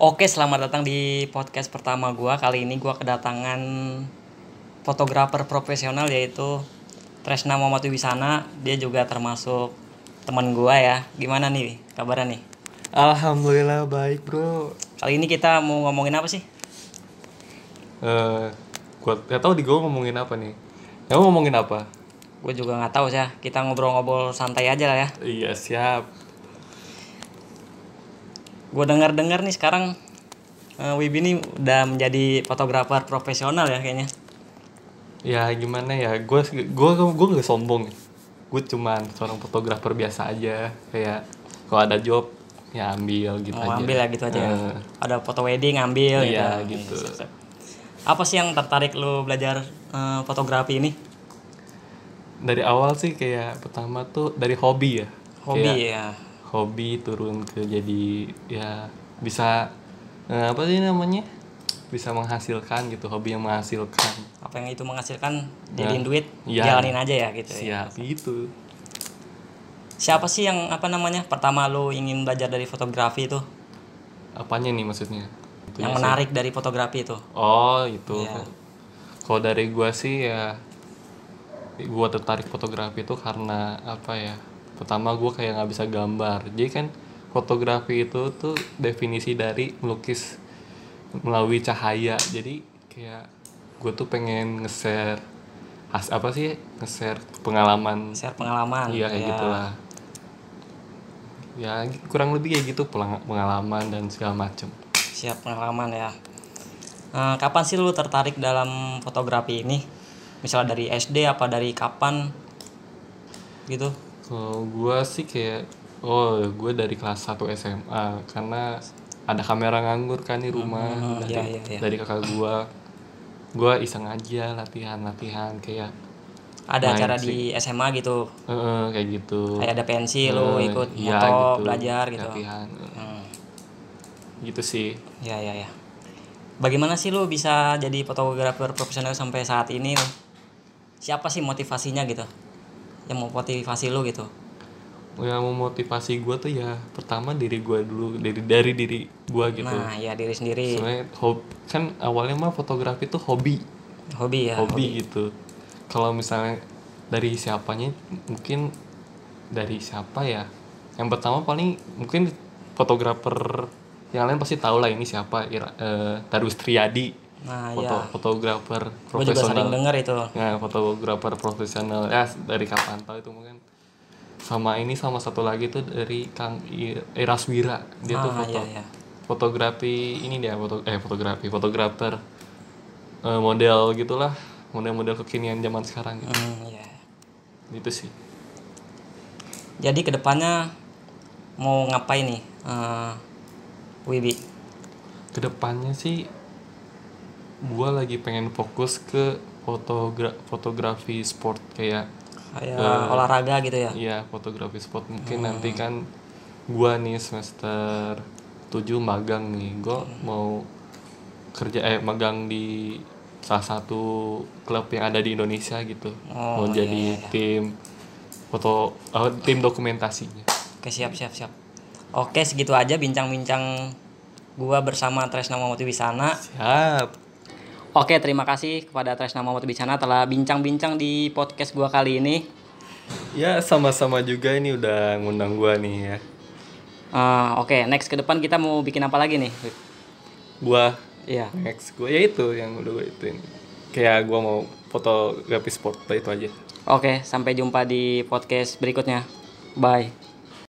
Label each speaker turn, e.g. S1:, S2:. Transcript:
S1: Oke, selamat datang di podcast pertama gua. Kali ini gua kedatangan fotografer profesional yaitu Tresna Muhammad Wisana. Dia juga termasuk teman gua ya. Gimana nih kabarnya nih?
S2: Alhamdulillah baik bro.
S1: Kali ini kita mau ngomongin apa sih?
S2: Eh, gua nggak tahu di gua ngomongin apa nih. Kamu ngomongin apa?
S1: Gue juga nggak tahu sih. ya. Kita ngobrol-ngobrol santai aja lah ya.
S2: Iya siap.
S1: Gue dengar-dengar nih sekarang eh, Wibi ini udah menjadi fotografer profesional ya kayaknya.
S2: Ya gimana ya, gua gua gua nggak sombong. Gue cuman seorang fotografer biasa aja. Kayak kalau ada job ya ambil gitu
S1: Mau
S2: aja.
S1: ambil ya gitu aja. ya.
S2: Eh,
S1: Ada foto wedding ambil
S2: Iya,
S1: gitu.
S2: gitu.
S1: Iya, siap, siap. Apa sih yang tertarik lu belajar eh, fotografi ini?
S2: dari awal sih kayak pertama tuh dari hobi ya.
S1: Hobi
S2: Kayak
S1: ya.
S2: hobi turun ke jadi ya bisa eh, apa sih namanya? Bisa menghasilkan gitu, hobi yang menghasilkan.
S1: Apa yang itu menghasilkan jadiin
S2: Nah,
S1: duit,
S2: iya.
S1: jalanin aja ya gitu. ya.
S2: Siap gitu.
S1: Siapa sih yang apa namanya? Pertama lu ingin belajar dari fotografi itu?
S2: Apanya nih maksudnya? Itu
S1: yang
S2: ya.
S1: menarik dari fotografi itu.
S2: Oh, itu.
S1: Iya.
S2: Kalau dari gua sih ya gua tertarik fotografi itu karena apa ya? Pertama gua kayak nggak bisa gambar. Jadi kan fotografi itu tuh definisi dari melukis melalui cahaya. Jadi kayak gue tuh pengen nge-share as apa sih? Nge-share pengalaman
S1: Share pengalaman.
S2: Iya kayak
S1: ya.
S2: gitulah. Ya kurang lebih kayak gitu pelang- pengalaman dan segala macem.
S1: Siap pengalaman ya. Eh, kapan sih lu tertarik dalam fotografi ini? Misalnya dari SD apa dari kapan? Gitu.
S2: Kalau gua sih kayak oh gua dari kelas 1 SMA karena ada kamera nganggur kan di rumah
S1: Hmm,
S2: dari,
S1: iya, iya, iya.
S2: dari kakak gua. Gua iseng aja latihan-latihan kayak
S1: Ada
S2: Main
S1: acara
S2: sih.
S1: di SMA gitu.
S2: eh, eh, kayak gitu.
S1: Kayak ada pensi lu
S2: Eh,
S1: ikut
S2: iya,
S1: moto,
S2: gitu.
S1: belajar gitu.
S2: Latihan. eh,
S1: Hmm.
S2: Gitu sih.
S1: Ya ya ya. Bagaimana sih lu bisa jadi fotografer profesional sampai saat ini? lu? Siapa sih motivasinya gitu? Yang motivasi lu gitu?
S2: Yang memotivasi gua tuh ya pertama diri gua dulu dari dari diri gua gitu.
S1: Nah, ya diri sendiri.
S2: sebenarnya hob- kan awalnya mah fotografi tuh hobi
S1: Hobi ya.
S2: hobi gitu kalau misalnya dari siapanya mungkin dari siapa ya yang pertama paling mungkin fotografer yang lain pasti tahu lah ini siapa Ira, eh, Darus Triadi
S1: Nah,
S2: foto
S1: ya.
S2: fotografer
S1: Gue juga sering
S2: profesional
S1: denger itu.
S2: nah fotografer profesional ya dari kapan tahu itu mungkin sama ini sama satu lagi tuh dari Kang I- Eraswira dia tuh
S1: Ah,
S2: foto
S1: ya ya.
S2: fotografi ini dia foto eh fotografi fotografer Eh, model gitulah model-model kekinian zaman sekarang gitu
S1: Hmm, ya.
S2: itu sih
S1: Jadi kedepannya mau ngapain nih? eh, Wibi.
S2: kedepannya sih gua lagi pengen fokus ke fotogra fotografi sport kayak
S1: Kayak
S2: Eh.
S1: olahraga gitu ya.
S2: Iya, fotografi sport
S1: Hmm.
S2: mungkin nanti kan gua nih semester 7 magang nih. Gua
S1: Hmm.
S2: mau kerja eh magang di salah satu klub yang ada di Indonesia gitu.
S1: Oh,
S2: mau
S1: iya,
S2: jadi tim foto eh, tim dokumentasinya.
S1: Oke, siap siap siap. Oke, segitu aja bincang-bincang gua bersama Tresna Muhammad Wisana.
S2: Siap.
S1: Oke, terima kasih kepada Tresna Muhammad Wisana telah bincang-bincang di podcast gua kali ini.
S2: Ya, sama-sama juga ini udah ngundang gua nih ya.
S1: Eh, Oke, next ke depan kita mau bikin apa lagi nih? Wib?
S2: Gua
S1: Iya.
S2: next gua ya itu yang udah gua ituin. Kayak gua mau fotografi sport itu aja.
S1: Oke, sampai jumpa di podcast berikutnya. Bye.